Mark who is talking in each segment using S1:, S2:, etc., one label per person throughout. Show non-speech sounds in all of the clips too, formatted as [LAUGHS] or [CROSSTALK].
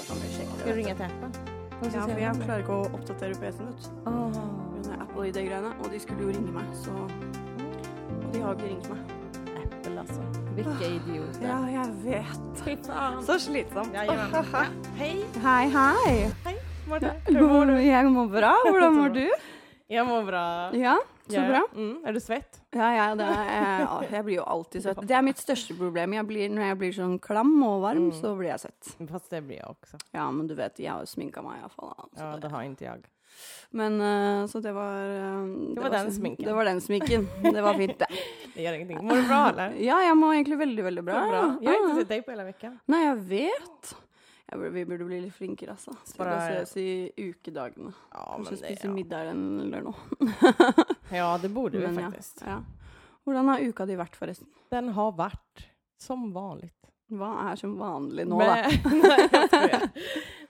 S1: Skal du ringe til Apple? Hva
S2: Ja,
S1: skal
S2: for
S1: jeg
S2: jeg
S1: si?
S2: klarer ikke å oppdatere PC-en ut.
S1: Åh,
S2: Under Apple ID greiene, og de skulle jo ringe meg, så Og de har jo ikke ringt meg.
S1: Apple, altså. Hvilke idioter.
S2: Ja, jeg vet.
S1: Fy faen.
S2: Så slitsomt.
S1: Ja, ja, ja. Hei,
S2: Hei, hei.
S1: Marte.
S2: [LAUGHS] Jeg mår bra. Hvordan mår du?
S1: Jeg mår bra.
S2: Ja, så
S1: Jeg-
S2: bra.
S1: Mm, er du svett?
S2: Ja, ja, det er, eh, jeg, jeg blir jo alltid søt. Det er mitt største problem. Jeg blir, når jeg blir sånn klam og varm,
S1: Mm.
S2: så blir jeg søt.
S1: Fast det blir jeg også.
S2: Ja, men du vet, jeg har jo sminka meg iallfall. Altså.
S1: Ja, det har ikke jeg.
S2: Men eh, så det var eh,
S1: Det var den sminken.
S2: Det var den sminken. Det var fint, det.
S1: Det gjør ingenting. Mår du bra, eller?
S2: Ja, jeg må egentlig veldig, veldig bra.
S1: Bra. Jeg har ikke
S2: Ja.
S1: sett deg på hele veckan.
S2: Nei, jeg vet. Jeg burde, vi burde bli litt flinkere, altså. Skal
S1: Bare-
S2: ses i ukedagene.
S1: Ja,
S2: Kanskje
S1: men det,
S2: spise middag eller noe.
S1: ja. ja, det borde vi
S2: Men ja.
S1: faktisk.
S2: ja. Hvordan har uka di vært, forresten?
S1: Den har vært som vanligt.
S2: Hva er som vanlig nå,
S1: Men-
S2: da?
S1: [LAUGHS] nej, jag skojar.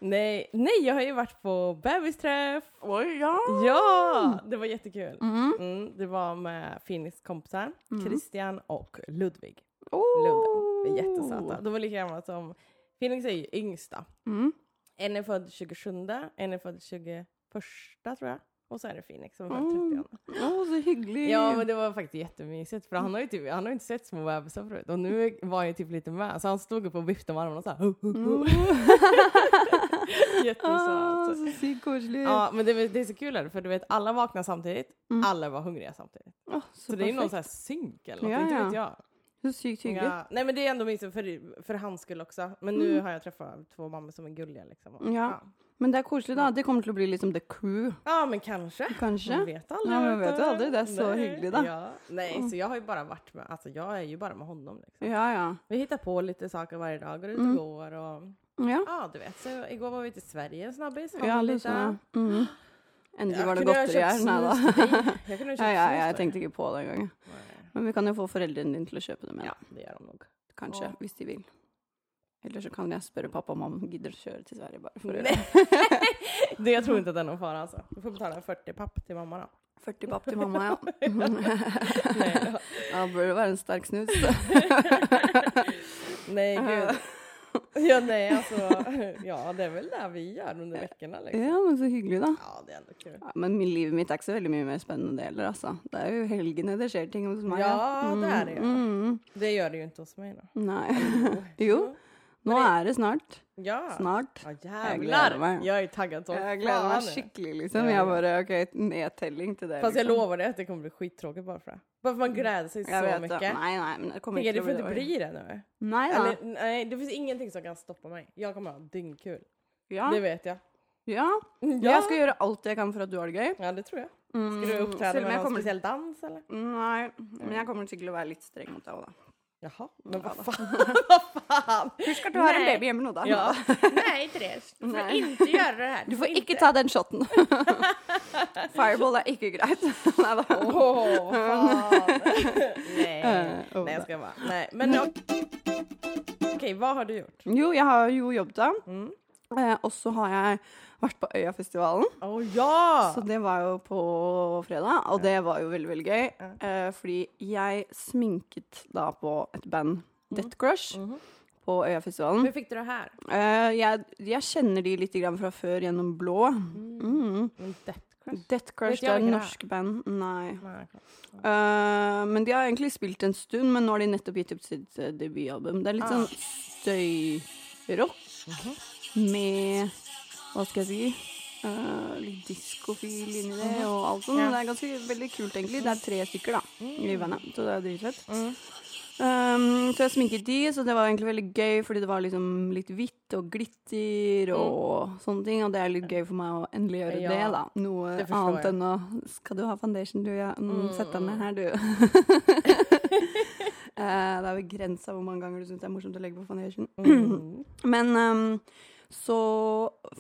S1: nej, nej, jag har ju varit på bebisträff.
S2: Oi, ja.
S1: Ja, det var jättekul.
S2: Mhm.
S1: Mm, det var med Finis kompisar,
S2: Mm.
S1: Christian och Ludvig Lunden. De
S2: Oh.
S1: är jättesöta. De var lika gamla som... Phoenix är ju yngsta.
S2: Mm.
S1: En är född 27, en är född 21 tror jag. Och så är det Phoenix som är
S2: Mm.
S1: född 30.
S2: Å, så hyggelig.
S1: Ja, men det var faktiskt jättemysigt för han har ju typ, han har ju inte sett små bebisar förut och nu var han ju typ lite med så han stod upp och viftade med armarna såhär. [LAUGHS]
S2: Å,
S1: Jättesöt.
S2: Mm. Ah, så sykt koselig.
S1: altså- Ja, men det, är- det är så kul här, för du vet alla vaknar samtidigt, alla var hungriga samtidigt.
S2: Å,
S1: Så,
S2: Mm. så
S1: det är ju någon
S2: perfekt.
S1: sån här synk eller något,
S2: Ja,
S1: inte
S2: ja.
S1: vet jag.
S2: Så sykt hyggelig.
S1: Ja. Nej men det är ändå mysigt för, för hans skull också. Men nu har jag träffat två mammor som är gulliga liksom. Och,
S2: Mm. Ja. Men det er koselig, da. Det kommer til å bli liksom the crew,
S1: Ja, men kanske.
S2: kanskje.
S1: Man vet aldrig.
S2: Ja, men vet
S1: du
S2: du aldrig. Det är så hyggligt då. Mm.
S1: Ja. Nej, så jag har ju bara varit med, alltså jag är ju bara med honom. Liksom.
S2: Ja, Mm. ja.
S1: Vi hittar på lite saker varje dag, går ut och går och
S2: Ja,
S1: ja, du vet. Så igår var vi till Sverige en snabbis.
S2: ja
S1: handlade
S2: du
S1: lite.
S2: sa mm. Endelig var det
S1: kunde ha
S2: godteri her.
S1: köpt
S2: Nei da.
S1: snus till
S2: [LAUGHS]
S1: dig. Jag kunde ha köpt
S2: Ja, ja,
S1: snus
S2: ja, jeg
S1: till dig.
S2: tenkte ikke på det engang. Men vi kan jo få foreldrene dine til å kjøpe det med,
S1: Ja,
S2: da.
S1: det gör de nog.
S2: kanskje.
S1: Ja.
S2: Hvis de vil. Eller så kan jeg spørre pappa om han gidder å kjøre til Sverige, bare for å
S1: [LAUGHS]
S2: gjøre
S1: Nej. [LAUGHS] det, jag tror inte att det är någon fara alltså. Du får betala 40 papp till mamma då.
S2: 40 papp till mamma,
S1: [LAUGHS]
S2: ja.
S1: Nej,
S2: [LAUGHS]
S1: då.
S2: Ja, burde det være en sterk snus.
S1: [LAUGHS] nej gud. Ja, nej alltså. Ja, det är väl det vi gör under veckorna liksom.
S2: Ja, men så hyggelig, da.
S1: Ja, det är ändå kul.
S2: Ja, men min- livet mitt er ikke så veldig mye mer spennende det heller, altså. Det er jo helgene det skjer ting hos meg.
S1: Ja, det är det ju.
S2: Mm,
S1: Det gör det ju inte hos mig då.
S2: [LAUGHS] nei. Jo, nå er det snart.
S1: Ja.
S2: Snart.
S1: Ja,
S2: gleder
S1: jävlar.
S2: meg.
S1: Jag är taggad som
S2: Jeg gleder meg
S1: fan.
S2: skikkelig, liksom. Jeg bare OK, nedtelling til det.
S1: Fast jag
S2: liksom.
S1: lovar dig att det kommer bli skittråkigt bara för det. Bara för man gräder sig
S2: Jeg
S1: så
S2: Mm. vet det.
S1: mycket.
S2: Nei, nei, men det kommer
S1: Tänker,
S2: ikke
S1: det får
S2: til å
S1: inte
S2: bli
S1: bli
S2: det.
S1: det nu.
S2: Nei da.
S1: Eller, nej, det finns ingenting som kan stoppa mig. Jag kommer ha dyngkul.
S2: Ja.
S1: Det vet jag.
S2: ja. Jeg skal gjøre alt jeg kan for at du har det gøy.
S1: Ja, det tror jag.
S2: Mm,
S1: Ska du uppträda
S2: selv om
S1: med
S2: jeg
S1: någon
S2: kommer-
S1: speciell dans eller?
S2: Nei, men jeg kommer sikkert til å være litt streng mot deg òg, da.
S1: Jaha, men vad fan, vad fan.
S2: Husk at du har en
S1: Nei.
S2: baby hjemme nå, da.
S1: Ja. [LAUGHS] Nej Therese, du får
S2: Nej.
S1: inte göra det här.
S2: Du får ikke ta den shoten.
S1: [LAUGHS]
S2: Fireball er ikke greit. [LAUGHS] Nei da.
S1: Åh, fan. Nej.
S2: Eh, oh,
S1: Nej, jag ska bara. Nej, men jag- okej, vad har du gjort?
S2: Jo, jeg har jo jobbet da.
S1: Mm.
S2: Eh, og så har jeg vært på Øyafestivalen.
S1: Åh ja!
S2: Så det var jo på fredag, og det var jo veldig, veldig gøy. Eh, fordi jeg sminket da på et band,
S1: Mm.
S2: Death Crush, på Øyafestivalen.
S1: Hur fick du det här?
S2: Eh, jeg, jeg kjenner de litt grann fra før gjennom Blå. Mm.
S1: En death crush?
S2: Death Crush,
S1: Vet
S2: det
S1: jeg
S2: er
S1: ikke
S2: et
S1: det.
S2: norsk band. Nei.
S1: Nej, klart.
S2: Eh, men de har egentlig spilt en stund, men nå har de nettopp gitt ut sitt eh, debutalbum. Det er litt
S1: Ah.
S2: sånn støyrock med Hva skal jeg si? eh, litt diskofil inni det og alt sånt.
S1: Mhm. Ja. Mhm.
S2: Det er ganske veldig kult, egentlig. Det er tre stykker da, i bandet, så det er dritfett.
S1: Mm.
S2: Um, så jeg sminket de, så det var egentlig veldig gøy, fordi det var liksom litt hvitt og glitter og sånne ting, og det er litt gøy for meg å endelig gjøre
S1: Mhm. Ja.
S2: det, da. Noe
S1: Det forstår
S2: annet
S1: jeg.
S2: enn å Skal du ha foundation, du? Ja. Mm, Sett deg ned her,
S1: [LAUGHS]
S2: du. Eh, det er begrensa hvor mange ganger du syns det er morsomt å legge på foundation.
S1: Mm.
S2: Men ehm, så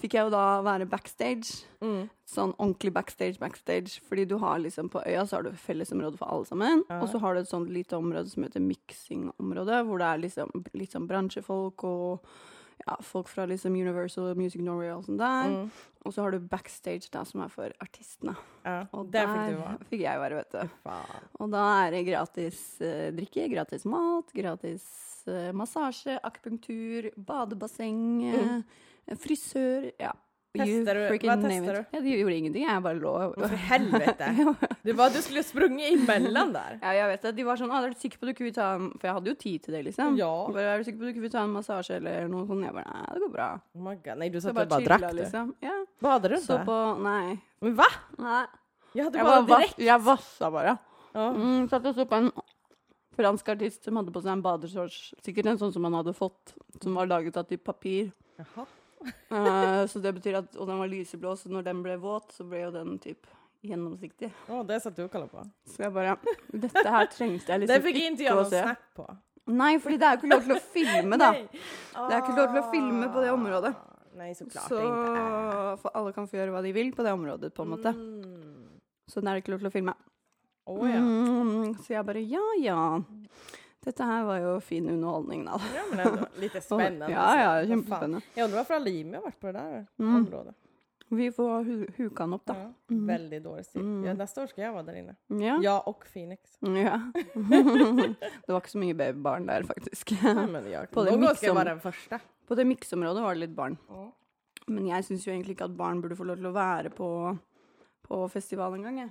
S2: fikk jeg jo da være backstage.
S1: mm,
S2: Sånn ordentlig backstage, backstage. Fordi du har liksom på øya så har du fellesområde for alle sammen. Og så har du et sånt lite område som heter miksingområde, hvor det er liksom litt sånn bransjefolk og ja, folk fra liksom Universal Music Norway og sånn der.
S1: Mm.
S2: Og så har du backstage, da, som er for artistene.
S1: Ja,
S2: Og
S1: der
S2: der
S1: fikk du være.
S2: fikk jeg være, vet du.
S1: Faen.
S2: Og da er det gratis eh, drikke, gratis mat, gratis eh, massasje, akupunktur, badebasseng, eh, frisør Ja. you
S1: Mm. Tester du-
S2: freaking
S1: hva
S2: name
S1: tester
S2: it. Ja, de gjorde ingenting, jeg bare lå [LAUGHS]
S1: Men For helvete. Det var du skulle sprunget imellom der.
S2: Ja, jeg vet det. De var sånn «Ah, 'Er du sikker på at du ikke vil ta en For jeg hadde jo tid til det, liksom.
S1: Ja.
S2: De Bare, 'Er du sikker på at du ikke vil ta en massasje eller noe sånt?' Jeg bare 'Nei, det går bra'.
S1: Oh my God. Nei, du
S2: Så
S1: satt og bare
S2: chillet,
S1: drakk, du.
S2: liksom. Ja.
S1: Bader du
S2: Så
S1: ikke?
S2: på Nei.
S1: Men hva?
S2: Nei.
S1: Jeg hadde
S2: Jeg,
S1: bare
S2: bare vas-
S1: direkte.
S2: jeg vassa bare.
S1: Ja.
S2: Mm, satt og så på en fransk artist som hadde på seg en badeshorts. Sikkert en sånn som han hadde fått, som var laget av typ papir.
S1: Jaha.
S2: Eh, så det betyr at, Og den var lyseblå, så når den ble våt, så ble jo den typ gjennomsiktig.
S1: Å, det satt du og kalla på.
S2: Så jeg bare Dette her trengte jeg
S1: Det
S2: liksom
S1: fikk ikke jeg
S2: å
S1: noen
S2: se.
S1: snap på.
S2: Nei, fordi det er jo ikke lov til å filme, da.
S1: Nei. Ah.
S2: Det er ikke lov til å filme på det området.
S1: Nei, så klart
S2: Så
S1: det ikke er.
S2: For alle kan få gjøre hva de vil på det området, på en måte.
S1: Mm.
S2: Så det er ikke lov til å filme.
S1: Å ja.
S2: Mm, så jeg bare ja, ja. Dette her var jo fin underholdning, da.
S1: ja. Men ändå,
S2: [LAUGHS]
S1: lite spännande.
S2: Ja, ja,
S1: Vad fan.
S2: kjempespennende.
S1: Jag undrar varför alla Jimmy har varit på det där
S2: Mm.
S1: området.
S2: Vi får hu huka han opp, da. Mm.
S1: Ja, Väldigt dålig stil. Ja, nästa år ska jag vara där inne.
S2: Ja.
S1: Jag och Phoenix.
S2: ja. [LAUGHS] det var ikke så mye babybarn der, faktisk.
S1: Nej, men jag,
S2: På
S1: på
S2: det
S1: någon gång ska jag
S2: midsommar-
S1: vara den första.
S2: På det mikseområdet var det litt barn.
S1: Ja.
S2: Men jeg syns jo egentlig ikke at barn burde få lov til å være på, på festival engang, jeg.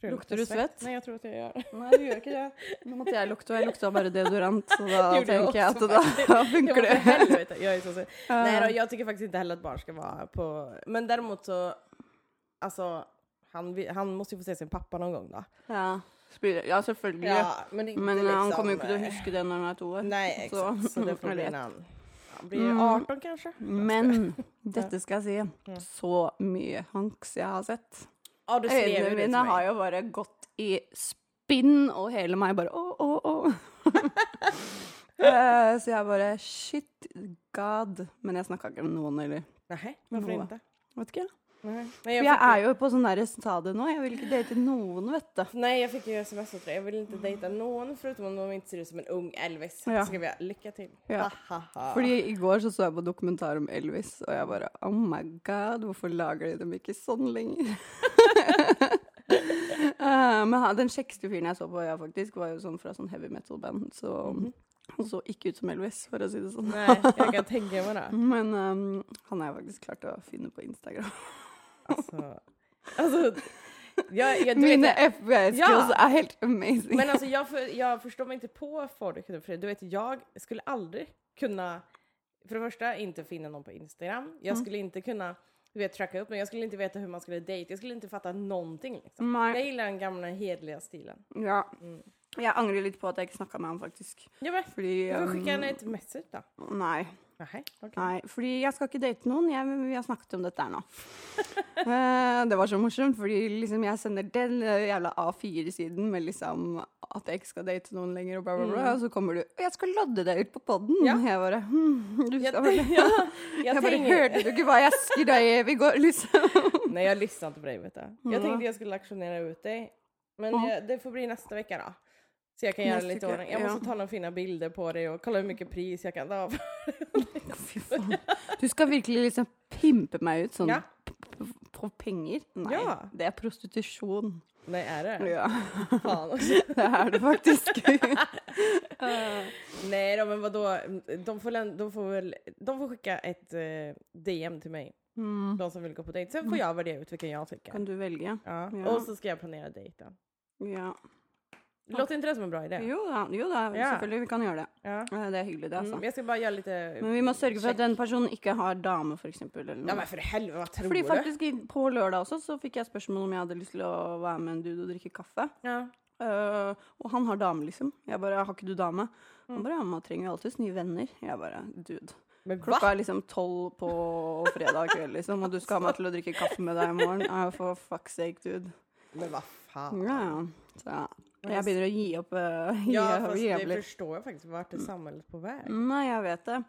S1: Tror jag luktar
S2: Luktar du svett?
S1: Nej, jag tror att jag gör.
S2: Nei, du gjør ikke det. Nå måtte jeg lukte, og jeg lukta
S1: [LAUGHS]
S2: bare deodorant, så [LAUGHS] da
S1: Gjorde jeg
S2: tenker jeg at
S1: også,
S2: da
S1: Jag [LAUGHS]
S2: funker
S1: bara,
S2: det.
S1: helvete, jag är så sur. Nej då, jag tycker faktiskt inte heller att barn ska vara på... Men däremot så... Alltså, han, vi- han måste ju få se sin pappa någon gång då.
S2: Ja, Spyr- ja selvfølgelig.
S1: Ja, men inte
S2: Men eh,
S1: liksom...
S2: han kommer jo ikke til å huske det når han er to år.
S1: Nej, exakt. Så, det får
S2: Jeg
S1: bli en
S2: vet. Mm.
S1: annan. Han blir 18 kanske?
S2: [LAUGHS] Men dette skal jeg si. Så mye hanks jeg har sett.
S1: Ja, du skrev ju det
S2: Øynene
S1: till
S2: mine
S1: mig.
S2: har jo bare gått i spinn, og hele meg bare å, å, å. [LAUGHS] Eh, Så jeg bare shit god. Men jeg snakka ikke med noen, eller
S1: Nej, varför
S2: Noah.
S1: inte?
S2: Vet ikke.
S1: Nej. Nej,
S2: For
S1: jag
S2: jeg
S1: fick,
S2: er jo på sånn derre ta det nå. Jeg vil ikke date noen, vet du.
S1: nej, jag fick ju sms och jag vill inte dejta någon förutom om de inte ser ut som en ung Elvis.
S2: Ja.
S1: Så skrev jag lycka till.
S2: Ja.
S1: Ha, ha, ha.
S2: Fordi i går så så jeg på dokumentar om Elvis, og jeg bare Oh my god, hvorfor lager de dem ikke sånn lenger? [LAUGHS] Eh, men han- den kjekkeste fyren jeg så på, ja, faktisk, var jo sånn fra sånn heavy metal-band. Så
S1: Mhm.
S2: han så ikke ut som Elvis, for å si det sånn.
S1: Nej, jag kan tänka mig det.
S2: Men eh, han har jeg faktisk klart å finne på Instagram.
S1: Alltså, alltså jag, jag, Altså, du vet,
S2: Mine
S1: jag-
S2: FBI-skills
S1: Ja.
S2: er helt amazing.
S1: Men alltså jag, för, jag förstår mig inte på folk. För du vet, jag skulle aldrig kunna, för det första, inte finna någon på Instagram. Jag skulle inte kunna, du vet, tracka upp mig. Jag skulle inte veta hur man skulle dejta. Jag skulle inte fatta någonting liksom.
S2: Nei.
S1: Jag gillar den gamla hedliga stilen. Mm.
S2: Ja. Jeg angrer litt på at jeg ikke snakka med han, faktisk.
S1: Ja, men,
S2: Fordi
S1: du får
S2: eh,
S1: skicka henne ett message då.
S2: Nei.
S1: Nej, okej.
S2: Nei, fordi jeg skal ikke date noen. Jeg, vi har snakket om dette her nå. [LAUGHS] Eh, det var så morsomt, fordi liksom jeg sender den eh, jævla A4-siden med liksom at jeg ikke skal date noen lenger, og bla, bla, bla. Og så kommer du og 'Jeg skal lodde deg ut på podden'.
S1: Mm. Ja.
S2: Jeg bare hm, du
S1: Jag, [LAUGHS]
S2: skal vel-
S1: jag, jag,
S2: Jeg bare
S1: tänker-
S2: Hørte du ikke hva jeg skrev deg i går, liksom?
S1: Nej, jag lyssnar inte på dig vet du. Jag
S2: Ja.
S1: tänkte jag skulle auktionera ut dig. Men
S2: Ja.
S1: jag, det får bli nästa vecka då. Så jag kan göra
S2: Nästa
S1: lite
S2: vecka,
S1: ordning. Jag
S2: ja.
S1: måste ta några fina bilder på dig och kolla hur mycket pris jeg kan ta.
S2: [LAUGHS] Fy faen. Du skal virkelig liksom pimpe meg ut sånn
S1: Ja.
S2: p- p- på penger? Nei.
S1: Ja.
S2: Det er prostitusjon.
S1: Nej, är det?
S2: Ja,
S1: Fan också.
S2: det er
S1: [LAUGHS]
S2: det faktisk. Eh,
S1: Nej då, men vadå? De får, län- de får väl de får skicka ett eh, DM till mig. De som vill gå på dejt. Sen får jag värdera ut vilken jag tycker.
S2: mm. Kan du velge?
S1: Ja.
S2: Ja.
S1: Och så ska jag planera dejten.
S2: Ja.
S1: Låter inte det som en bra idé?
S2: Jo da, jo da
S1: Ja.
S2: selvfølgelig. Vi kan gjøre det.
S1: Ja.
S2: Eh, Det er hyggelig, det, altså.
S1: Mm, jag ska bara göra lite...
S2: Men vi må sørge for at den personen ikke har dame, for eksempel. Eller
S1: Ja,
S2: noe.
S1: men för helvete, vad tror
S2: Fordi
S1: du?
S2: faktisk i- På lørdag også så fikk jeg spørsmål om jeg hadde lyst til å være med en dude og drikke kaffe.
S1: Ja.
S2: Eh, og han har dame, liksom. Jeg bare 'Har ikke du dame?'
S1: Mm.
S2: Han bare 'Ja, man trenger jo alltids nye venner'. Jeg bare 'Dude'.
S1: Men va?
S2: Klokka er liksom tolv på fredag kveld, liksom, og du skal ha meg til å drikke kaffe med deg i morgen. Ja, for fuck's sake, dude.
S1: Men vad fan?
S2: Ja, ja. Så ja. Jeg begynner å gi opp. Uh, [LAUGHS] gi,
S1: Ja, fast
S2: gi
S1: det
S2: opp litt.
S1: förstår jag faktiskt. Vart
S2: Mm.
S1: är samhället på väg?
S2: Nei, jeg vet det.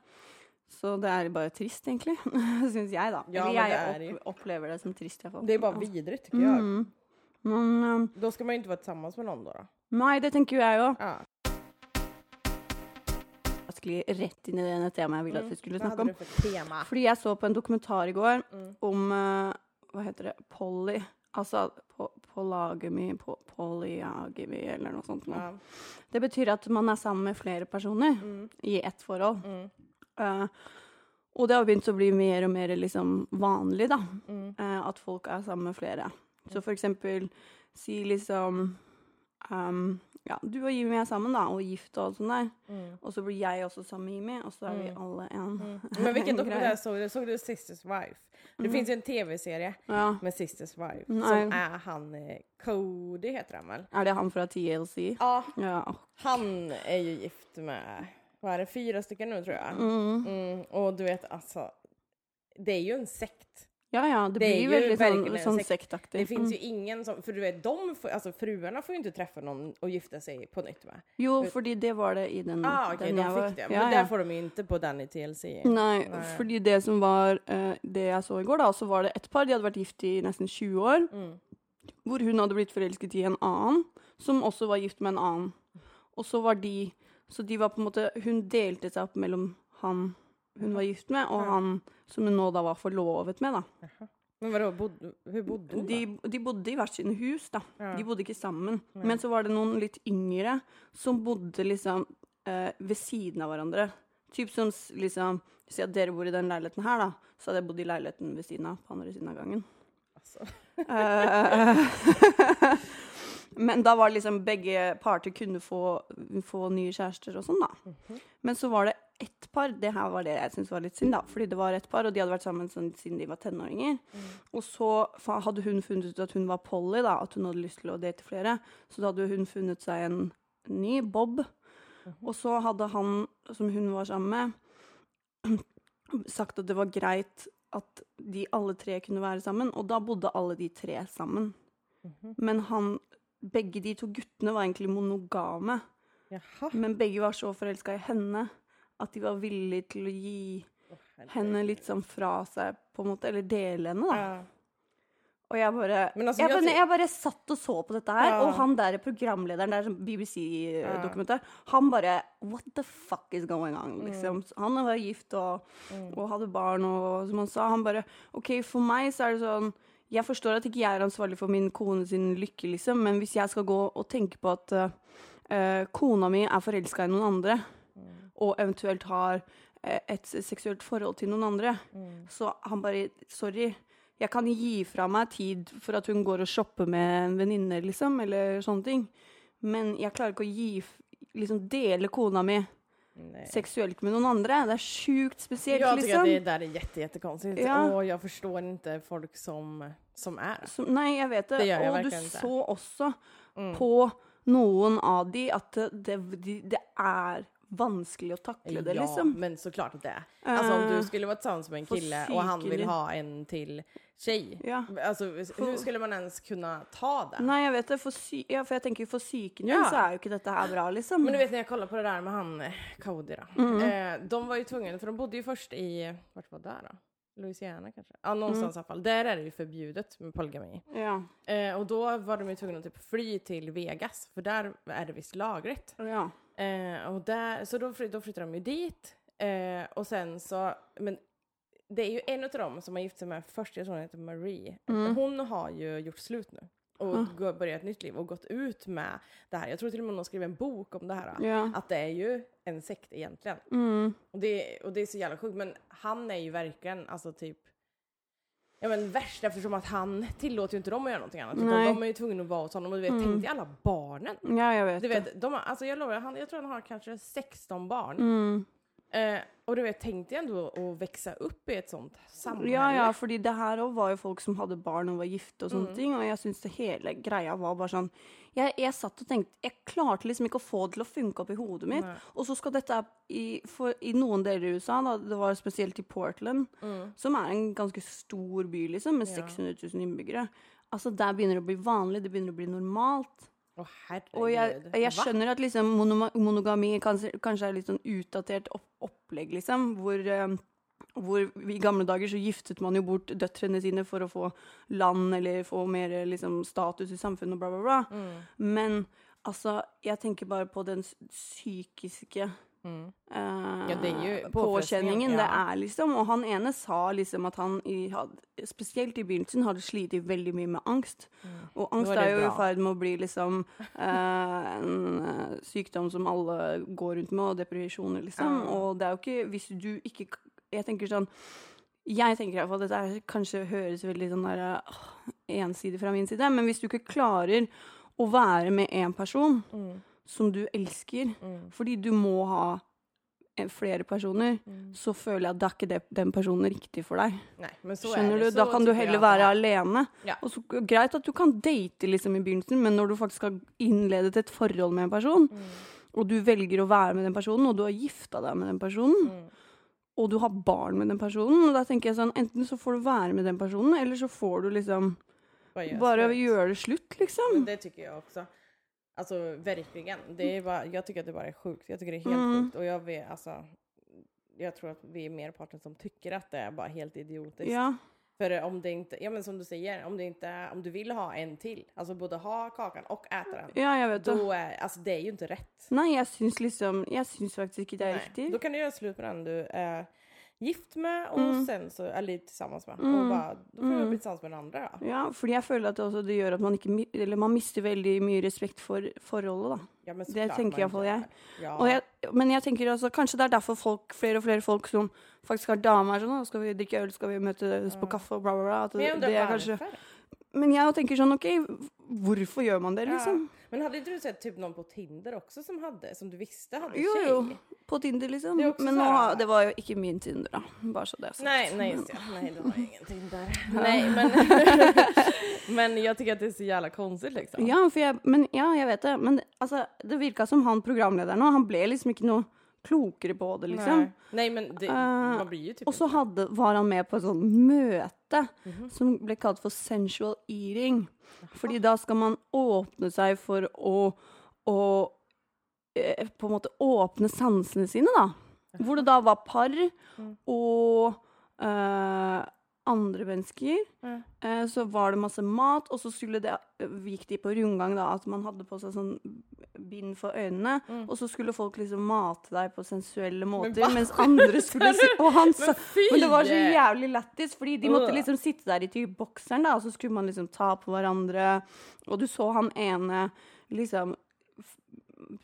S2: Så det er bare trist, egentlig. [LAUGHS] Syns jeg, da.
S1: Ja, men
S2: Eller
S1: det er
S2: jeg
S1: jo-
S2: opp, opplever det som trist, iallfall.
S1: Det är bara vidrigt tycker jag.
S2: Mm. Men um,
S1: Då ska man ju inte vara tillsammans med någon då. då.
S2: nei, det tenker jo jeg òg.
S1: Ja.
S2: raskelig rett inn i det ene temaet jeg ville at vi skulle
S1: Hva
S2: snakke om.
S1: hadde Mm. du for tema?
S2: Fordi jeg så på en dokumentar i går om eh, Hva heter det? Poly. Altså po polygamy, po polyagemy, eller noe sånt. Noe.
S1: Ja.
S2: Det betyr at man er sammen med flere personer i ett forhold. Eh, og det har begynt å bli mer og mer liksom vanlig, da.
S1: Mm,
S2: eh, at folk er sammen med flere. Så for eksempel si liksom um, Ja, du og Jimmy er sammen, da, og gift og alt sånt der.
S1: mm,
S2: Og så blir jeg også sammen med Jimmy, og så er vi alle en. [LAUGHS]
S1: Men
S2: en
S1: vilken
S2: greie.
S1: dokumentär såg du? Såg du Sisters Wife? Det finns ju en tv-serie
S2: Ja.
S1: med Sisters Wife
S2: Nej.
S1: som är han eh, Cody heter han väl?
S2: Er det han fra TLC?
S1: Ja,
S2: Ja. åh,
S1: han är ju gift med, vad är det, fyra stycken nu tror jag. Mm, och du vet alltså, det är ju en sekt.
S2: ja, ja. Det,
S1: Det er
S2: blir
S1: jo
S2: veldig sånn,
S1: virkelig en
S2: sånn
S1: sekt.
S2: sektaktig.
S1: Det finns ju ingen som, för du vet, de får, alltså fruarna får ju inte träffa någon och gifta sig på nytt va?
S2: Jo, fordi det var det i den,
S1: Ah, okej,
S2: Mm. den
S1: de
S2: jeg var
S1: fick det. Men där får de ju inte på den i TLC.
S2: Nei, fordi det som var eh, det jeg så i går, da, så var det et par. De hadde vært gift i nesten 20 år.
S1: Mm.
S2: Hvor hun hadde blitt forelsket i en annen, som også var gift med en annen. Og så var de Så de var på en måte Hun delte seg opp mellom han hun var gift med, og han som hun nå da var forlovet med, da.
S1: Men vadå, bod, hur bodde hon?
S2: De, de bodde i hvert sine hus, da. De bodde ikke sammen. Men så var det noen litt yngre som bodde liksom eh, ved siden av hverandre. Typ som s- liksom Si at dere bor i den leiligheten her, da. Så hadde jeg bodd i leiligheten ved siden av, på andre siden av gangen.
S1: Alltså.
S2: Eh, [LAUGHS] Men da var det liksom begge parter kunne få, få nye kjærester og sånn, da. Men så var det ett par. Det her var det jeg syntes var litt synd, da. Fordi det var ett par, og de hadde vært sammen sånn, siden de var tenåringer. Og så fa- hadde hun funnet ut at hun var Polly, da. At hun hadde lyst til å date flere. Så da hadde hun funnet seg en ny, Bob. Og så hadde han, som hun var sammen med, [CLEARS THROAT] sagt at det var greit at de alle tre kunne være sammen, og da bodde alle de tre sammen. Men han, begge de to guttene var egentlig monogame,
S1: Jaha.
S2: men begge var så forelska i henne at de var villige til å gi henne litt sånn fra seg, på en måte, eller dele henne, da.
S1: Ja.
S2: Og jeg bare,
S1: Men altså,
S2: jeg,
S1: jeg
S2: bare,
S1: tror-
S2: jeg bare satt og så på dette her,
S1: Ja.
S2: og han der programlederen, det er sånn BBC-dokumentar, han bare What the fuck is going on?
S1: Mm.
S2: Liksom. Så Han var gift og, og hadde barn, og som han sa, han bare OK, for meg så er det sånn jeg forstår at ikke jeg er ansvarlig for min kone sin lykke, liksom, men hvis jeg skal gå og tenke på at eh, eh, kona mi er forelska i noen andre,
S1: Mm.
S2: og eventuelt har eh, et seksuelt forhold til noen andre.
S1: Mm.
S2: Så han bare Sorry, jeg kan gi fra meg tid for at hun går og shopper med en venninne, liksom, eller sånne ting. Men jeg klarer ikke å gi f- Liksom dele kona mi
S1: Nej.
S2: seksuelt med noen andre. Det er sjukt spesielt,
S1: Jag tycker att
S2: liksom.
S1: det där är jätte, jättekonstigt
S2: Ja.
S1: och jag förstår inte folk som, som är.
S2: Som, nei, jeg vet det.
S1: Det gjør jeg Mm.
S2: og du
S1: virkelig ikke.
S2: så også på noen av de at det, de, det er vanskelig å takle det,
S1: Ja,
S2: liksom.
S1: men såklart att det är. Alltså om du skulle vara tillsammans med en
S2: för
S1: kille och han vill
S2: psykiskt.
S1: ha en till tjej.
S2: Ja.
S1: Alltså hur skulle man ens kunna ta det?
S2: Nei, jeg vet det. For, sy ja, for jeg tenker for psyken
S1: Ja.
S2: din så er jo ikke dette her bra, liksom.
S1: Men du vet när jag kollade på det där med han eh, Cody då. Eh, de var ju tvungna, för de bodde ju först i, vart var det där då? Louisiana kanske? Ja, någonstans i alla fall. Där är det ju förbjudet med polygami.
S2: ja.
S1: Eh, och då var de ju tvungna att typ fly till Vegas, för där är det visst lagligt.
S2: ja.
S1: Eh, och där, så då, fly, då flyttade de ju dit. Eh, och sen så, men det är ju en av dem som har gift sig med först, jag tror hon heter Marie.
S2: Mm.
S1: Hon har ju gjort slut nu och går- börjat ett nytt liv och gått ut med det här. Jag tror till och med hon har skrivit en bok om det här.
S2: Ja. Mm.
S1: Att det är ju en sekt egentligen. Och, det, och det är så jävla sjukt. Men han är ju verkligen, alltså typ, Ja men värst eftersom att han tillåter ju inte dem att göra någonting annat. Utan
S2: Nej. Mm.
S1: de är ju tvungna att vara hos honom. Och du vet, tänk dig alla barnen.
S2: ja, jeg vet,
S1: Du
S2: det.
S1: vet, de har, alltså jag lovar, han, jag tror han har kanske 16 barn.
S2: Mm.
S1: Eh, och du vet, tänk dig ändå att växa upp i ett sånt samhälle.
S2: Ja, ja, fordi det her òg var jo folk som hadde barn og var gifte og
S1: Mm.
S2: sånne ting, og jeg syns det hele greia var bare sånn jeg, jeg satt og tenkte Jeg klarte liksom ikke å få det til å funke opp i hodet mitt. Og så skal dette i, for, i noen deler i USA, da, det var spesielt i Portland,
S1: Mm.
S2: som er en ganske stor by, liksom, med 600 000 innbyggere. Altså, der begynner det å bli vanlig, det begynner å bli normalt.
S1: Åh, herregud.
S2: Og jeg, jeg
S1: Va?
S2: skjønner at liksom monoma- monogami kanskje, kanskje er litt sånn utdatert opp, opplegg, liksom. Hvor, eh, hvor vi i gamle dager så giftet man jo bort døtrene sine for å få land eller få mer eh, liksom, status i samfunnet og bla,
S1: Mm.
S2: bla, bla. Men altså, jeg tenker bare på den s- psykiske eh,
S1: Mm. Ja, det er jo påfrestningen,
S2: påkjenningen det
S1: ja.
S2: er, liksom. Og han ene sa liksom at han i, had- spesielt i begynnelsen hadde slitt veldig mye med angst. Og
S1: Mm. Nå
S2: angst
S1: er det
S2: er jo i
S1: bra.
S2: ferd med å bli liksom eh, en eh, sykdom som alle går rundt med, og depresjoner, liksom. Og det er jo ikke Hvis du ikke k- Jeg tenker sånn jeg tenker i hvert fall at dette er, kanskje høres veldig sånn der, åh, ensidig fra min side, men hvis du ikke klarer å være med en person
S1: Mm,
S2: som du elsker, fordi du må ha eh, flere personer,
S1: Mm.
S2: så føler jeg at da er ikke det, den personen riktig for deg.
S1: Nei, men så er
S2: Skjønner du?
S1: det. Så
S2: Da kan du
S1: tycker jag
S2: heller
S1: att det
S2: være
S1: är-
S2: alene.
S1: Ja.
S2: Og så, greit at du kan date liksom i begynnelsen, men når du faktisk har innledet et forhold med en person,
S1: Mm,
S2: og du velger å være med den personen, og du har gifta deg med den personen,
S1: mm.
S2: og du har barn med den personen, og da tenker jeg sånn, enten så får du være med den personen, eller så får du liksom
S1: Bara göra
S2: bare
S1: slut.
S2: gjøre det slutt, liksom.
S1: Men det tycker jag också. Alltså verkligen. Det är bara, jag tycker att det bara är sjukt. Jag tycker det är helt
S2: Mm.
S1: sjukt. Och jag vet, alltså, jag tror att vi är merparten som tycker att det är bara helt idiotiskt.
S2: Ja.
S1: För om det inte, ja men som du säger, om, det inte, om du vill ha en till, alltså både ha kakan och äta den,
S2: ja, jeg vet det.
S1: då är, alltså det är ju inte rätt.
S2: Nei, jeg syns liksom Jeg syns faktisk ikke det er
S1: Nej.
S2: riktig.
S1: Då kan du göra slut med den du är gift med och
S2: Mm.
S1: sen så, eller tillsammans med. Och bara, då får du bli tillsammans med den andra då.
S2: Ja, fordi jeg føler at det, også, det gjør at man ikke mi- Eller man mister veldig mye respekt for forholdet, da.
S1: Ja, men
S2: Det
S1: såklart
S2: tenker
S1: man
S2: i
S1: inte
S2: hvert fall jeg.
S1: är. Ja.
S2: Og jeg, men jeg tenker altså, kanskje det er derfor folk, flere og flere folk som faktisk har damer sånn, «Å, skal vi drikke øl, skal vi møtes på kaffe og bla, bla, bla. At
S1: Men
S2: det,
S1: jag undrar
S2: det er
S1: varför.
S2: kanskje, men jeg tenker sånn, ok, hvorfor gjør man det, liksom?
S1: Ja. Men hade inte du sett typ någon på Tinder också som hade, som du visste hade
S2: Jo,
S1: tjej?
S2: jo. På Tinder, liksom.
S1: Det er jo ikke
S2: Men
S1: så
S2: nå, har-
S1: rart.
S2: det var jo ikke min Tinder, da. Bare så det er sagt.
S1: Nej, nej just det. Nej, det
S2: [LAUGHS]
S1: var ingen Tinder. Nej, men, men jag tycker att det är så jävla konstigt liksom.
S2: Ja, for jeg, men, ja, jeg vet det. Men altså, det virka som han programlederen nå, han ble liksom ikke noe klokere på det, liksom.
S1: Nej. Nej, men det, man blir ju typ
S2: Og så hadde, var han med på et sånt møte som ble kalt for sensual eating. Fordi da skal man åpne seg for å, å eh, på en måte åpne sansene sine, da. Hvor det da var par og eh, andre mennesker. Eh, så var det masse mat, og så skulle det, gikk de på rundgang da, at man hadde på seg sånn bind for øynene, og så skulle folk liksom mate deg på sensuelle måter,
S1: hva
S2: mens andre skulle si, og han sa,
S1: fy!
S2: men det var så jævlig lættis, fordi de måtte
S1: Øh.
S2: liksom sitte der i typ bokseren da, og så skulle man liksom ta på hverandre, og du så han ene liksom f-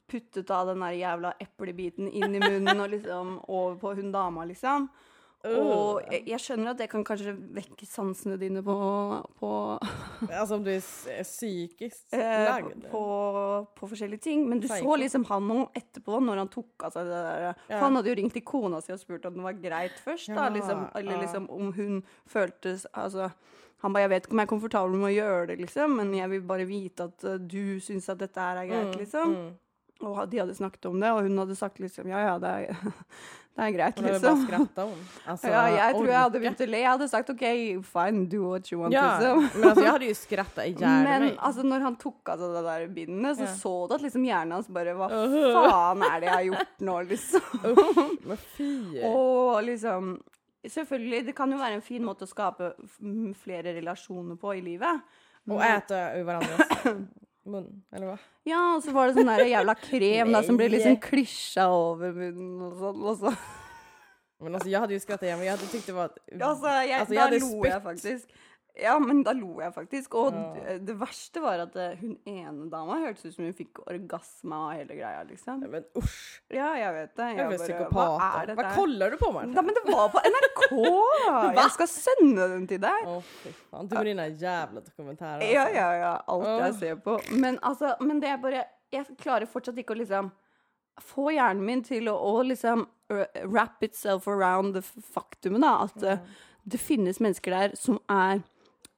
S2: puttet av den der jævla eplebiten inn i munnen, og liksom [LAUGHS] over på hun dama liksom. Og jeg, jeg skjønner at det kan kanskje vekke sansene dine på, på,
S1: Alltså om du är s- är psykiskt
S2: eh,
S1: lagd.
S2: på, på forskjellige ting, men du
S1: Psyko.
S2: så liksom han nå etterpå, når han tok av seg det der eh, For han hadde jo ringt til kona si og spurt om det var greit først, da,
S1: Ja,
S2: liksom,
S1: ja.
S2: eller liksom om hun føltes Altså han bare 'Jeg vet ikke om jeg er komfortabel med å gjøre det, liksom, men jeg vil bare vite at eh, du syns at dette her er greit', liksom. Og de hadde snakket om det, og hun hadde sagt liksom 'ja ja, det er, [LAUGHS] det er greit',
S1: Hon hade bara
S2: liksom.
S1: skrattat
S2: [LAUGHS]
S1: hon. Alltså,
S2: Ja, jeg tror jeg hadde
S1: orka.
S2: begynt å le. Jeg hadde sagt OK, fine, do what you want,
S1: Ja,
S2: liksom.
S1: men alltså jag hade ju skrattat ihjäl
S2: Men
S1: mig.
S2: altså, når han tok av seg det der bindet, så
S1: Ja.
S2: så du at liksom hjernen hans bare Hva faen er det jeg har gjort
S1: [LAUGHS]
S2: nå, liksom? [LAUGHS]
S1: Men fy.
S2: Og liksom Selvfølgelig, det kan jo være en fin måte å skape f- m, flere relasjoner på i livet.
S1: Och äta ur varandras
S2: [LAUGHS]
S1: mun, eller vad?
S2: Ja, og så var det sånn der jævla krem da, som ble
S1: Nei.
S2: liksom klisja over munnen og sånn. Og så.
S1: [LAUGHS] Men alltså jag hade ju skrattat igen, men jag hade tyckt det var...
S2: Altså, jeg,
S1: Alltså,
S2: da
S1: hade
S2: lo
S1: spytt.
S2: jeg faktisk. Ja, men da lo jeg faktisk. Og d- det verste var at eh, hun ene dama hørtes ut som hun fikk orgasme av hele greia, liksom.
S1: Nej, Men usch.
S2: Ja, jeg vet det.
S1: Jag är
S2: Jeg
S1: väl
S2: bare,
S1: psykopat.
S2: hva
S1: Vad
S2: er dette? her?
S1: kollar du på Marta?
S2: Ja, men det var på [LAUGHS] NRK! Jeg skal sende den til deg.
S1: Åh fy fan, du med dina jävla dokumentärer. alltså.
S2: Ja, altså. ja, ja. Alt jeg ser på. Men altså, men det er bare Jeg klarer fortsatt ikke å liksom få hjernen min til å, å liksom r- wrap itself around det f- faktumet, da. At eh, det finnes mennesker der som er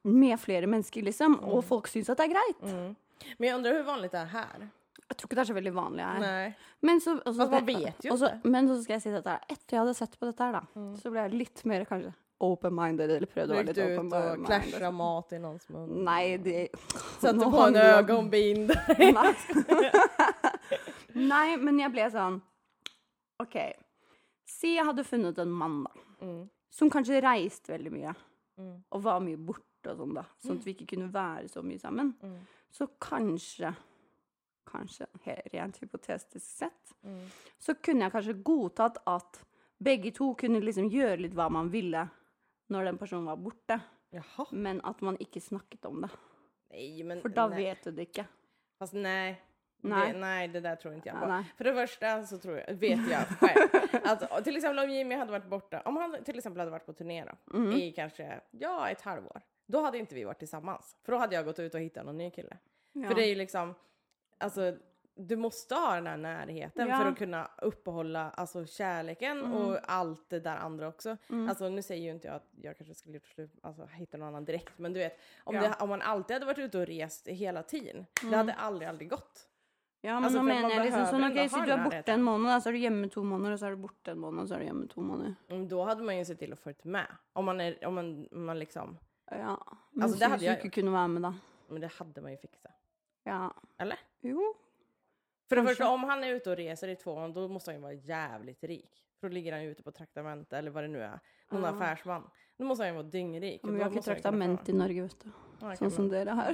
S2: med flere mennesker, liksom. Og folk syns at det er greit.
S1: Men jag undrar hur vanligt det är här?
S2: Jeg tror ikke det er så veldig vanlig her.
S1: Nej.
S2: Men så, og så
S1: Altså, man
S2: skal jeg-
S1: vet jo Mm.
S2: og så- Men så skal jeg si dette her. Etter jeg hadde sett på dette her, da, så ble jeg litt mer kanskje open-minded. Eller prøvde å være
S1: Du
S2: litt liksom.
S1: gick ut och
S2: open-minded.
S1: clashade mat i någons mun.
S2: Nei, det
S1: Satte
S2: Nå
S1: på en
S2: handler det om-
S1: ögonbind.
S2: Nei. [LAUGHS] Nei, men jeg ble sånn OK. Si jeg hadde funnet en mann, da. Som kanskje reiste veldig mye. Og var mye borte og sånn, da. Sånn at vi ikke kunne være så mye sammen. Så kanskje kanskje he- rent hypotetisk sett, så kunne jeg kanskje godtatt at begge to kunne liksom gjøre litt hva man ville når den personen var borte,
S1: [LAUGHS] Jaha.
S2: men at man ikke snakket om det.
S1: Nej, men...
S2: For da
S1: nej.
S2: vet du det ikke.
S1: Fast nej.
S2: Nej.
S1: Det, nej, det där tror inte jag
S2: Ja,
S1: på.
S2: nej.
S1: För det första så tror jag, vet jag själv att och till exempel om Jimmy hade varit borta, om han till exempel hade varit på turné då,
S2: Mhm.
S1: i kanske, ja, ett halvår. Då hade inte vi varit tillsammans. För då hade jag gått ut och hittat någon ny kille.
S2: Ja.
S1: För det är ju liksom, alltså du måste ha den här närheten
S2: Ja. Mm.
S1: för att kunna uppehålla alltså, kärleken och allt det där andra också. Alltså nu säger ju inte jag att jag kanske skulle gjort slut, alltså hitta någon annan direkt, men du vet om,
S2: Ja.
S1: det, om man alltid hade varit ute och rest hela tiden, det hade
S2: Mm.
S1: aldrig, aldrig gått.
S2: Ja, men
S1: Altså,
S2: nå
S1: for
S2: mener
S1: man
S2: jeg liksom
S1: behøver
S2: sånn,
S1: å
S2: ok,
S1: ha den
S2: så du er
S1: nærheten.
S2: borte en måned, da, så er du hjemme to måneder, og så er du borte en måned, og så er du hjemme to måneder.
S1: Mm, Då hade man ju sett till att följt med. Om man, är, om man, om man liksom,
S2: Ja. Men
S1: Altså, det
S2: så
S1: hadde
S2: hvis
S1: jeg
S2: du ikke kunne være med, da.
S1: men det hade man ju fixat.
S2: Ja.
S1: Eller?
S2: Jo.
S1: För det
S2: Kanske.
S1: första, om han är ute och reser i två år, då måste han ju vara jävligt rik. För då ligger han ju ute på traktamente eller vad det nu är. Någon
S2: Ja.
S1: affärsman. Då måste han ju vara dyngrik.
S2: Men vi har ikke traktament i Norge, vet du. Sånn som
S1: Ja,
S2: dere har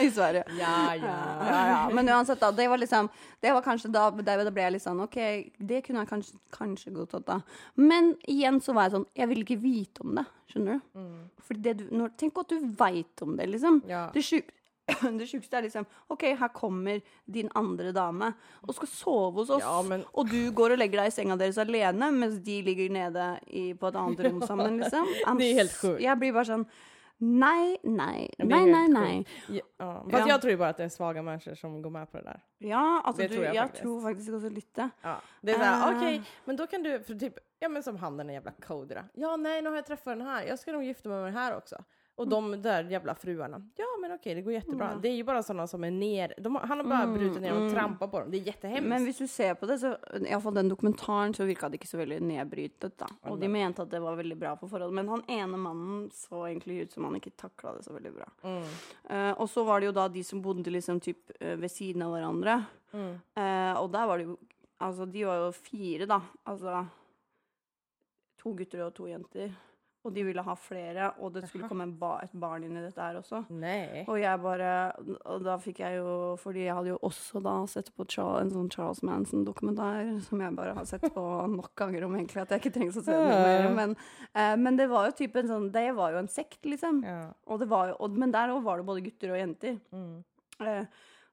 S1: [LAUGHS]
S2: i Sverige.
S1: ja.
S2: [LAUGHS] Ja, ja, ja. Men uansett, da. Det var liksom Det var kanskje da der- Da ble jeg litt sånn OK, det kunne jeg kanskje, kanskje godtatt, da. Men igjen så var jeg sånn Jeg vil ikke vite om det, skjønner du?
S1: Mm.
S2: For det du når, Tenk at du veit om det, liksom.
S1: Ja.
S2: Det sjuk- [COUGHS] det sjukeste er liksom OK, her kommer din andre dame og skal sove hos oss.
S1: Ja, men-
S2: Og du går og legger deg i senga deres alene mens de ligger nede i, på et annet rom sammen,
S1: [LAUGHS]
S2: liksom. I'm
S1: Det er helt
S2: s-
S1: sjukt.
S2: Jeg blir bare sånn Nei, nei,
S1: Ja, det är
S2: nei,
S1: helt
S2: nei.
S1: sjukt.
S2: nei.
S1: Ja, ja. Fast
S2: Ja.
S1: jag tror ju bara att det är svaga människor som går med på det där.
S2: Ja, altså,
S1: Det
S2: du,
S1: tror
S2: jeg,
S1: jeg
S2: faktisk.
S1: faktisk.
S2: tror faktisk også litt det.
S1: Ja. Det är såhär,
S2: Ah.
S1: okej, men då kan du, för typ, ja men som han den där jävla Kodra. Ja, nej, nu har jag träffat den här, jag ska nog gifta mig med den här också. Och
S2: Mm.
S1: de där jävla fruarna, ja men okej, det går jättebra. Det är ju bara sådana som är ner, de, har- han har
S2: Mm,
S1: bara brutit ner och trampat på dem, det är jättehemskt.
S2: Men hvis du ser på det, så iallfall den dokumentaren, så virka det ikke så veldig nedbrytet, da. Og de mente at det var veldig bra for forholdet. Men han ene mannen så egentlig ut som han ikke takla det så veldig bra.
S1: Mm,
S2: Eh, og så var det jo da de som bodde liksom typ eh, ved siden av hverandre.
S1: mm.
S2: Eh, og der var det jo Altså, de var jo fire, da. Altså to gutter og to jenter. Og de ville ha flere, og det skulle komme en ba et barn inn i dette her også.
S1: Nej.
S2: Og jeg bare Og da fikk jeg jo Fordi jeg hadde jo også da sett på Charles, en sånn Charles Manson-dokumentar som jeg bare har sett på [LAUGHS] nok ganger om, egentlig, at jeg ikke trenger å se den mer. Men, eh, men det var jo typen sånn Det var jo en sekt, liksom.
S1: Ja. mm.
S2: Og det var jo, og, men der òg var det både gutter og jenter. Eh,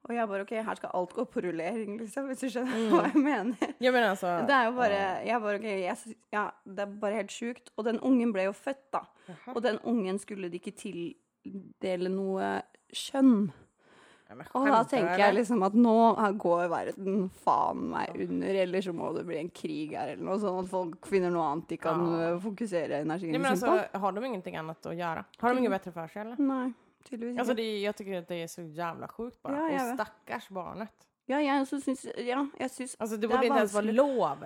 S2: og jeg bare OK, her skal alt gå på rullering, liksom, hvis du skjønner hva jeg mener.
S1: Ja men altså
S2: Det er jo bare, jeg bare, ok, jeg, sy- ja, det er bare helt sjukt. Og den ungen ble jo født, da. Og den ungen skulle de ikke tildele noe kjønn.
S1: Ja, men
S2: Og da
S1: skämtar
S2: tenker
S1: du,
S2: jeg
S1: eller?
S2: liksom at nå her går verden faen meg under, eller så må det bli en krig her, eller noe sånn at folk finner noe annet de kan øh, fokusere energien
S1: Nej, men
S2: sin på.
S1: alltså, har de ingenting annat att göra? Har de inget
S2: Mm.
S1: bättre för sig eller?
S2: Nei, tydeligvis
S1: Alltså
S2: ikke.
S1: det, är- jag tycker att det är så jävla sjukt bara.
S2: Ja, jag
S1: och
S2: vet.
S1: stackars barnet.
S2: Ja, jeg også syns Ja, jeg syns
S1: Alltså det
S2: Det är
S1: borde inte ens vara
S2: vanskligt.
S1: lov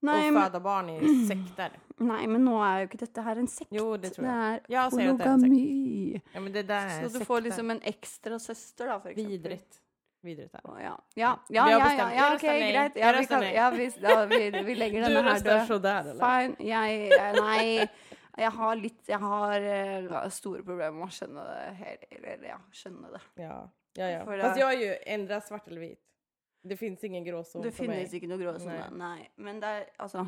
S2: nei,
S1: att
S2: men,
S1: föda barn i sekter.
S2: nei, men nå er jo ikke dette her en sekt.
S1: Jo, det tror jeg.
S2: Altså, Det er
S1: Jag säger att det är en sekt.
S2: polygami.
S1: Ja, men det där är
S2: Så du
S1: sekter.
S2: får liksom en ekstra søster, da, for eksempel.
S1: Vidrigt. Vidrigt är det.
S2: Å, Ja, ja, ja,
S1: Vi har
S2: ja, ja,
S1: bestemt.
S2: ja
S1: Jeg
S2: ok,
S1: røster nei.
S2: greit.
S1: Jeg
S2: Ja, vi,
S1: røster
S2: kan,
S1: nei.
S2: ja, vi, ja, vi, vi legger
S1: [LAUGHS] Du
S2: denne her
S1: røster
S2: død.
S1: sådär eller?
S2: Fine. Jeg, jeg, nei, jeg har litt Jeg har eh, store problemer med å skjønne det. Her, eller, ja, skjønne det.
S1: Ja. ja, Altså, ja.
S2: För det-
S1: Fast jag är ju ändra svart eller vit. Det finns ingen gråzon
S2: Det
S1: för mig.
S2: finnes ikke noe gråsone. Nei. Men det er altså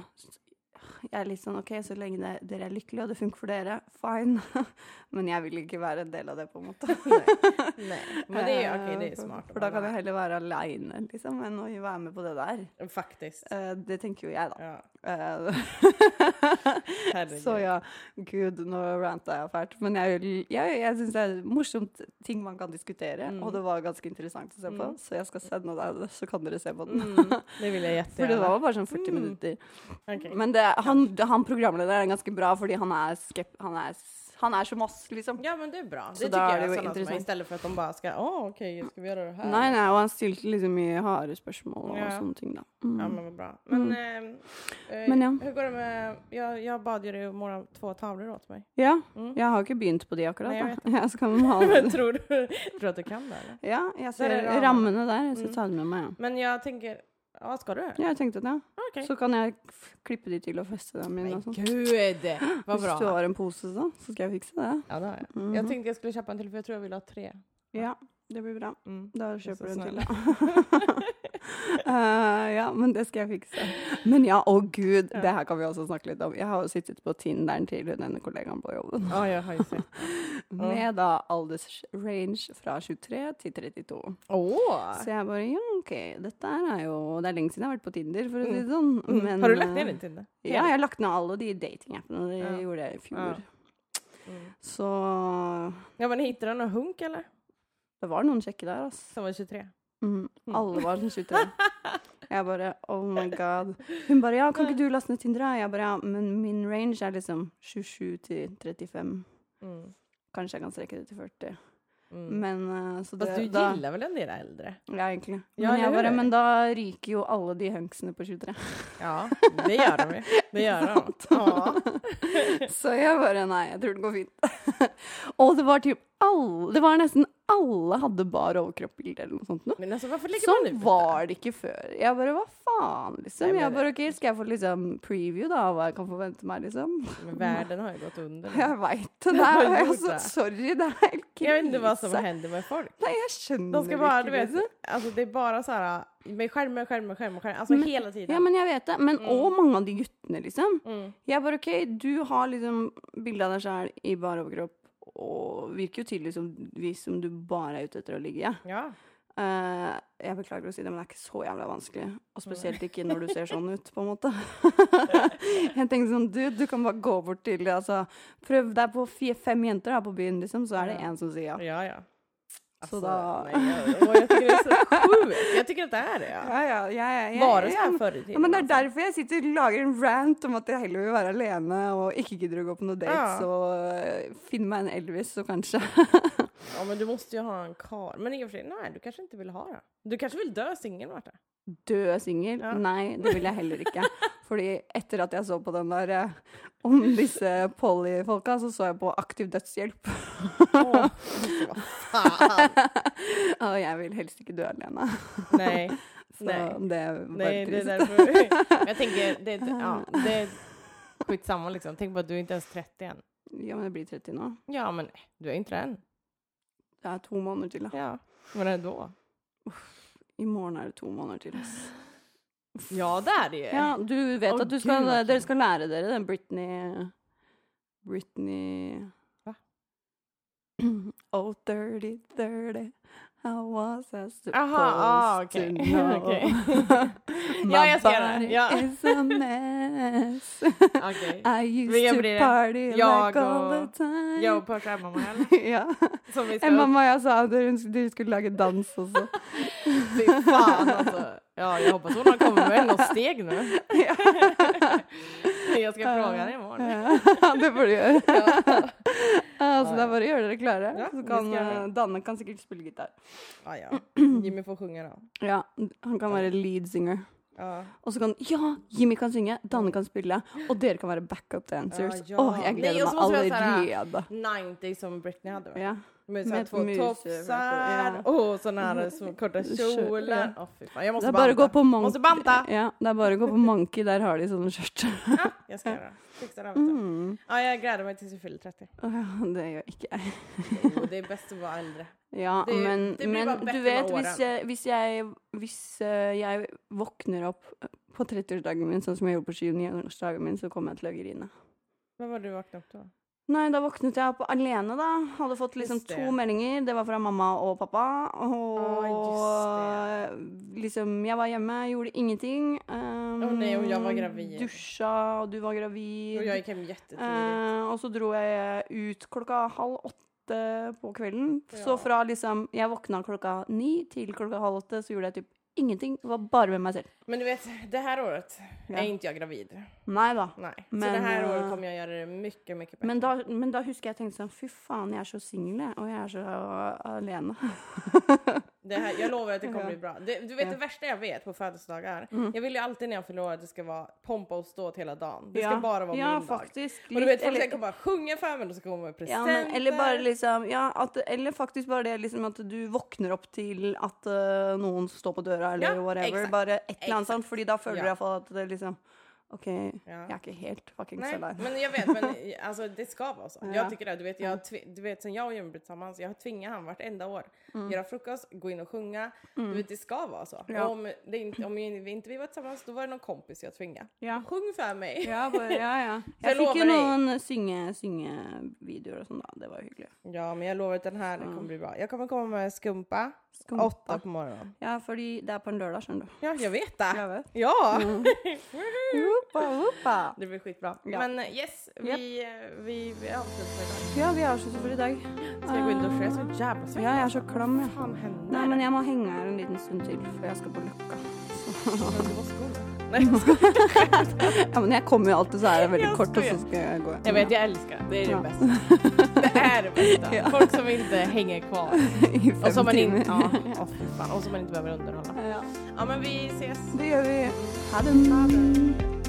S2: Jeg er litt sånn OK, så lenge det, dere er lykkelige og det funker for dere, fine. [LAUGHS] Men jeg vil ikke være en del av det, på en måte. [LAUGHS]
S1: Nej. Men det är okej, det är
S2: Eh,
S1: smart. att
S2: For
S1: vara
S2: da kan jeg heller være aleine, liksom, enn å være med på det der.
S1: med. Faktiskt.
S2: Eh, Det tenker jo jeg, da.
S1: Ja.
S2: [LAUGHS] Eh,
S1: Herregud.
S2: Så ja, gud, nå ranta jeg fælt. Men jeg, jeg, jeg syns det er morsomt ting man kan diskutere,
S1: Mm.
S2: og det var ganske interessant å se på. Så jeg skal sende deg det, så kan dere se på
S1: Mm.
S2: den.
S1: Det vill jag
S2: For Mm. det
S1: jättegärna.
S2: var bare sånn
S1: Mm.
S2: 40 minutter.
S1: Okej.
S2: Men det, han, han programlederen er ganske bra, fordi han er, skep, han er, s- han er som oss, liksom.
S1: Ja men det är bra.
S2: Så
S1: Det
S2: där
S1: tycker
S2: är det
S1: jag
S2: ju
S1: är sådana som är
S2: intressant.
S1: istället för att de bara ska, åh okej, ska vi göra det här?
S2: Nei, nei, og han stilte liksom mye harde spørsmål og
S1: Ja.
S2: sånne ting, da. Mm.
S1: Ja men vad bra. Men, eh, eh,
S2: Men ja.
S1: hur går det med, jag, jag bad ju dig att måla två tavlor åt mig.
S2: Ja, jeg har ikke begynt på de akkurat,
S1: Nei, jeg
S2: da. [LAUGHS] Jeg skal
S1: [LAUGHS]
S2: male.
S1: Men tror du, tror du att du kan det eller?
S2: Ja, jeg ser
S1: Der er rammene.
S2: rammene der. Jeg skal ta dem med meg, ja.
S1: Men jag tänker, ja ska du det?
S2: Ja, jeg tenkte det. ja.
S1: Okej.
S2: Så kan jeg f- klippe de til og feste dem inn.
S1: Men
S2: og sånn.
S1: gud, vad
S2: Hvis du
S1: bra.
S2: har en pose, så, så skal jeg fikse det.
S1: Mm-hmm.
S2: Mhm.
S1: Ja det har jag. Jag tänkte jag skulle köpa en till för jag tror jag vill ha tre.
S2: Ja. Det blir bra.
S1: Mm.
S2: Da [LAUGHS]
S1: er så
S2: kjøper du en
S1: snill.
S2: til. Eh, ja, men det skal jeg fikse. Men ja, å gud, det her kan vi også snakke litt om. Jeg har jo sittet på Tinderen til denne kollegaen på jobben.
S1: Ja, jeg har ju sett.
S2: Med da aldersrange fra 23 til 32.
S1: Åh!
S2: Så jeg bare ja, OK, dette her er jo Det er lenge siden jeg har vært på Tinder, for å si det sånn. Men,
S1: Mm. har du lagt ned
S2: eh,
S1: din Tinder?
S2: Ja, jeg har lagt ned alle de datingappene. Det
S1: Ja.
S2: gjorde jeg i fjor.
S1: Mm.
S2: Så
S1: Ja, men hittade du någon hunk eller?
S2: det var noen kjekke der, altså.
S1: Som var 23?
S2: Mm. Alle var sånn 23.
S1: [LAUGHS]
S2: Jeg bare oh my god. Hun bare ja, kan ikke du laste ned Tinder? da? Jeg bare ja, men min range er liksom 27 til 35.
S1: Mm.
S2: Kanskje jeg kan strekke det til 40.
S1: Mm.
S2: Men eh, så det,
S1: Fast du
S2: da,
S1: gillar väl en del äldre?
S2: Ja, egentlig. Men,
S1: Ja,
S2: jeg
S1: eller
S2: bare,
S1: hur?
S2: men da ryker jo alle de hunksene på 23.
S1: Ja, det gör de ju. Det gör
S2: [LAUGHS]
S1: de. Ja.
S2: Så jeg bare nei, jeg tror det går fint. [LAUGHS] Og det var typ alle Det var nesten alle hadde bar overkropp-bilde eller noe sånt noe.
S1: Men alltså varför lägger man
S2: Sånn
S1: ut
S2: var det ikke før. Jeg bare hva faen, liksom.
S1: Nei, men
S2: Jeg
S1: det-
S2: bare OK, skal jeg få liksom preview da av hva jeg kan forvente meg, liksom?
S1: detta? Men världen har ju gått under nu.
S2: [LAUGHS] Jeg veit det.
S1: Hva
S2: Det
S1: [LAUGHS] har
S2: er
S1: du gjort
S2: altså,
S1: da?
S2: sorry, det er helt krise.
S1: Jag vet inte vad som händer med folk.
S2: Nei, jeg skjønner
S1: De ska bara, du
S2: ikke,
S1: vet,
S2: liksom.
S1: alltså Altså, det är bara så här med skärmen, skärmen, skärmen, skärmen. Alltså hela tiden.
S2: Ja, men jeg vet det. Men òg mange av de guttene, liksom.
S1: Mm.
S2: Jeg bare OK, du har liksom bilde av deg sjæl i bar overkropp, og virker jo tydelig som hvis som du bare er ute etter å ligge. Ja.
S1: Ja.
S2: Eh, jeg beklager å si det, men det er ikke så jævla vanskelig. Og spesielt ikke når du ser sånn ut, på en måte. [LAUGHS] jeg tenkte sånn, du, du kan bare gå bort til altså, Prøv deg på fire, fem jenter her på byen, liksom, så er det én som sier ja.
S1: Ja, ja. Altså, Alltså,
S2: Så då-
S1: nej, jag, åh, jag tycker det är så sjukt. Jag tycker att det är det. Ja.
S2: Ja, ja, ja, ja, ja,
S1: Var det så
S2: ja,
S1: här
S2: men-
S1: förr i
S2: ja, men
S1: tiden?
S2: Det er derfor jeg sitter og lager en rant om at jeg heller vil være alene og ikke gidder å gå på noen dates
S1: Ja.
S2: og eh, finne meg en Elvis, så kanskje.
S1: altså. Ja, men du måste ju ha en kar. Men i och för sig, nej, du kanske inte vill ha det. Du kanske vill dö singel,
S2: [LAUGHS]
S1: Marta?
S2: Død singel?
S1: Ja.
S2: Nei, det vil jeg heller
S1: [LAUGHS]
S2: ikke. Fordi etter at jeg så på den der eh, om disse poly-folka, så så jeg på Aktiv dødshjelp.
S1: Åh, vad fan.
S2: [LAUGHS] Og jeg vil helst ikke dø alene.
S1: Nej,
S2: Så
S1: Nej.
S2: det var
S1: nej, det är
S2: trist.
S1: därför. [LAUGHS] Jag tänker, det, det, ja,
S2: [LAUGHS]
S1: det är skitsamma liksom. Tänk på att du inte ens 30 än.
S2: Ja, men jeg blir 30 nå.
S1: Ja, men du är inte det än.
S2: Det er to måneder til, da.
S1: Ja, men ändå.
S2: I morgen er det to måneder til. ass.
S1: Ja, det är det ju.
S2: Ja, du vet
S1: Eh, Å,
S2: at du
S1: Gud,
S2: skal,
S1: Martin.
S2: dere skal lære dere den Britney Britney
S1: Hva?
S2: [CLEARS THROAT] Oh, 30, 30 How was I supposed
S1: ah, ok. [LAUGHS]
S2: to know? [LAUGHS]
S1: Ok.
S2: My
S1: Ja, jeg skal gjøre det.
S2: body
S1: Ja.
S2: is a
S1: [LAUGHS]
S2: mess.
S1: Okej.
S2: [LAUGHS] I
S1: Vi
S2: used
S1: gjør
S2: to
S1: det.
S2: party
S1: Jag
S2: like all
S1: och-
S2: the time.
S1: Jag och Persa Emma Mahal
S2: [LAUGHS] ja.
S1: som vi
S2: Emma
S1: ska upp.
S2: Maja sa at hun- dere skulle lage dans
S1: [LAUGHS]
S2: også. [LAUGHS]
S1: Fy fan alltså. Ja, jag hoppas hon har kommit med något steg nu.
S2: Ja.
S1: Jag ska fråga henne imorgon.
S2: Ja, [LAUGHS] det får du gjøre. [LAUGHS] Ja, så
S1: Ja,
S2: det
S1: ja.
S2: er bare å gjøre dere klare.
S1: Ja,
S2: så
S1: vi
S2: kan,
S1: skal gjøre
S2: eh, Danne kan sikkert spille gitar.
S1: Ja,
S2: [CLEARS THROAT]
S1: ja. Jimmy får sjunga då.
S2: Ja, Han kan være lead singer.
S1: Ja.
S2: Og så kan Ja, Jimmy kan synge, Danne kan spille, og dere kan være backup dancers. Åh,
S1: Ja, ja.
S2: jeg
S1: Nei,
S2: gleder
S1: og så måste vi
S2: meg
S1: ha såhär-
S2: allerede.
S1: 90 som Britney hade va?
S2: Ja.
S1: Med, så
S2: Med
S1: här två
S2: mus
S1: tofsar
S2: överallt och-
S1: och sådana här små korta kjolar. Åh fy fan, jag
S2: Det
S1: måste
S2: er bare å gå
S1: banta.
S2: på Monkey.
S1: Måste banta!
S2: Ja, det er bare å gå på Monkey, der har de sånne skjørt.
S1: Ja, jag ska göra det. Fixa det här, vet du. [LAUGHS]
S2: Mm.
S1: Ah, Ja, jag gläder mig tills jag fyller
S2: [LAUGHS]
S1: 30.
S2: Åh, ja, det gjør ikke jeg.
S1: Jo, det är bäst att vara äldre.
S2: Ja,
S1: Det-
S2: men,
S1: det blir bare
S2: men
S1: bedre
S2: du vet,
S1: med
S2: hvis
S1: årene.
S2: jeg, hvis, jeg, hvis eh, jeg våkner opp eh, på 30-årsdagen min, sånn som jeg gjorde på 29-årsdagen min, så kommer jeg til å grine.
S1: Vad var det du vaknade upp då?
S2: Nei, da våknet jeg opp alene, da. Hadde fått liksom
S1: Just det.
S2: to meldinger. Det var fra mamma og pappa. Og
S1: Å,
S2: liksom Jeg var hjemme, gjorde ingenting. Um,
S1: Å nei, og jeg var gravid.
S2: Dusja, og du var gravid.
S1: Och jag gick hem jättetidigt.
S2: Eh, og så dro jeg ut klokka halv åtte på kvelden. Så
S1: Ja.
S2: fra liksom Jeg våkna klokka ni til klokka halv åtte, så gjorde jeg typ ingenting. Det var bare med meg selv.
S1: Men du vet, det här året
S2: Eh. Ja.
S1: är inte jag gravid.
S2: Nei da.
S1: Nej.
S2: Men,
S1: så det här
S2: eh,
S1: året kommer jag göra det mycket, mycket bättre.
S2: Men da, men da husker jeg tenkte sånn Fy faen, jeg er så singel, jeg. Og jeg er så alene.
S1: Det här, jag lovar att det kommer
S2: [LAUGHS] Ja.
S1: bli bra. Det, du vet
S2: Ja. Mm.
S1: det värsta jag vet på födelsedagar? Jag vill ju alltid när jag fyller år att det ska vara pompa och ståt hela dagen. Det ska bara vara
S2: [LAUGHS] ja,
S1: min dag.
S2: faktisk.
S1: Och du
S2: litt,
S1: vet, folk
S2: eller-
S1: ska komma och sjunga för mig, de ska komma med
S2: ja,
S1: presenter.
S2: men, eller bare liksom ja, at, Eller faktisk bare det liksom at du våkner opp til at eh, noen står på døra, eller
S1: Ja,
S2: whatever.
S1: exakt.
S2: Bare et eller annet
S1: Exakt.
S2: sånt, fordi da føler du
S1: Ja.
S2: iallfall at det liksom OK, jeg
S1: Ja.
S2: er ikke helt fucking
S1: Nej,
S2: sällan.
S1: men jag vet, men [LAUGHS] alltså, det ska vara så.
S2: Ja.
S1: Jag tycker det. Du vet, jag, tvi- du vet, sånn, sen jag och Jimmy blev tillsammans, jag har tvingat han vartenda år. Göra frukost, gå in och sjunga. Du vet, det ska vara så.
S2: Ja.
S1: Om, det inte, om vi inte vi var tillsammans, då var det någon kompis jag tvingade.
S2: Ja.
S1: Sjung för mig!
S2: Ja, bare, [LAUGHS] ja, ja. Jeg
S1: Jeg
S2: fikk jo
S1: lover deg.
S2: noen synge- syngevideoer og sånn, da. Det var jo hyggelig.
S1: [LAUGHS] Ja, men jag lovar att den här kommer bli bra. Jag kommer komma med skumpa,
S2: Skumpa.
S1: åtta på morgonen.
S2: Ja, fordi det er på en lørdag, skjønner du.
S1: Ja, jag vet det.
S2: Jag vet.
S1: Ja! [LAUGHS]
S2: Hoppa, hoppa.
S1: Det blir skitbra.
S2: Ja.
S1: Men eh, yes, vi, eh, vi, vi avslutar för idag.
S2: Ja, vi avslutter for i dag.
S1: Ska jag gå in och duscha? Jag är så jävla svettig.
S2: Ja, jeg er så klam,
S1: Vad
S2: jeg.
S1: fan händer?
S2: Nei, men jeg må henge her en liten stund til, for jeg skal på Løkka.
S1: Men du måste gå. Nej, jag skojar.
S2: Ja, men jeg kommer jo alltid, så er det veldig
S1: Jeg
S2: kort, og så
S1: skojar.
S2: skal jeg gå.
S1: Jag vet, jag älskar det. Det är
S2: Ja.
S1: det bästa. Det är det bästa.
S2: [LAUGHS] Ja.
S1: Folk som inte hänger kvar.
S2: [LAUGHS] I fem
S1: Och som man inte,
S2: timer.
S1: ja, åh, fy fan. och som man inte behöver underhålla.
S2: Ja,
S1: Ja, men vi ses.
S2: det gjør vi. Ha det.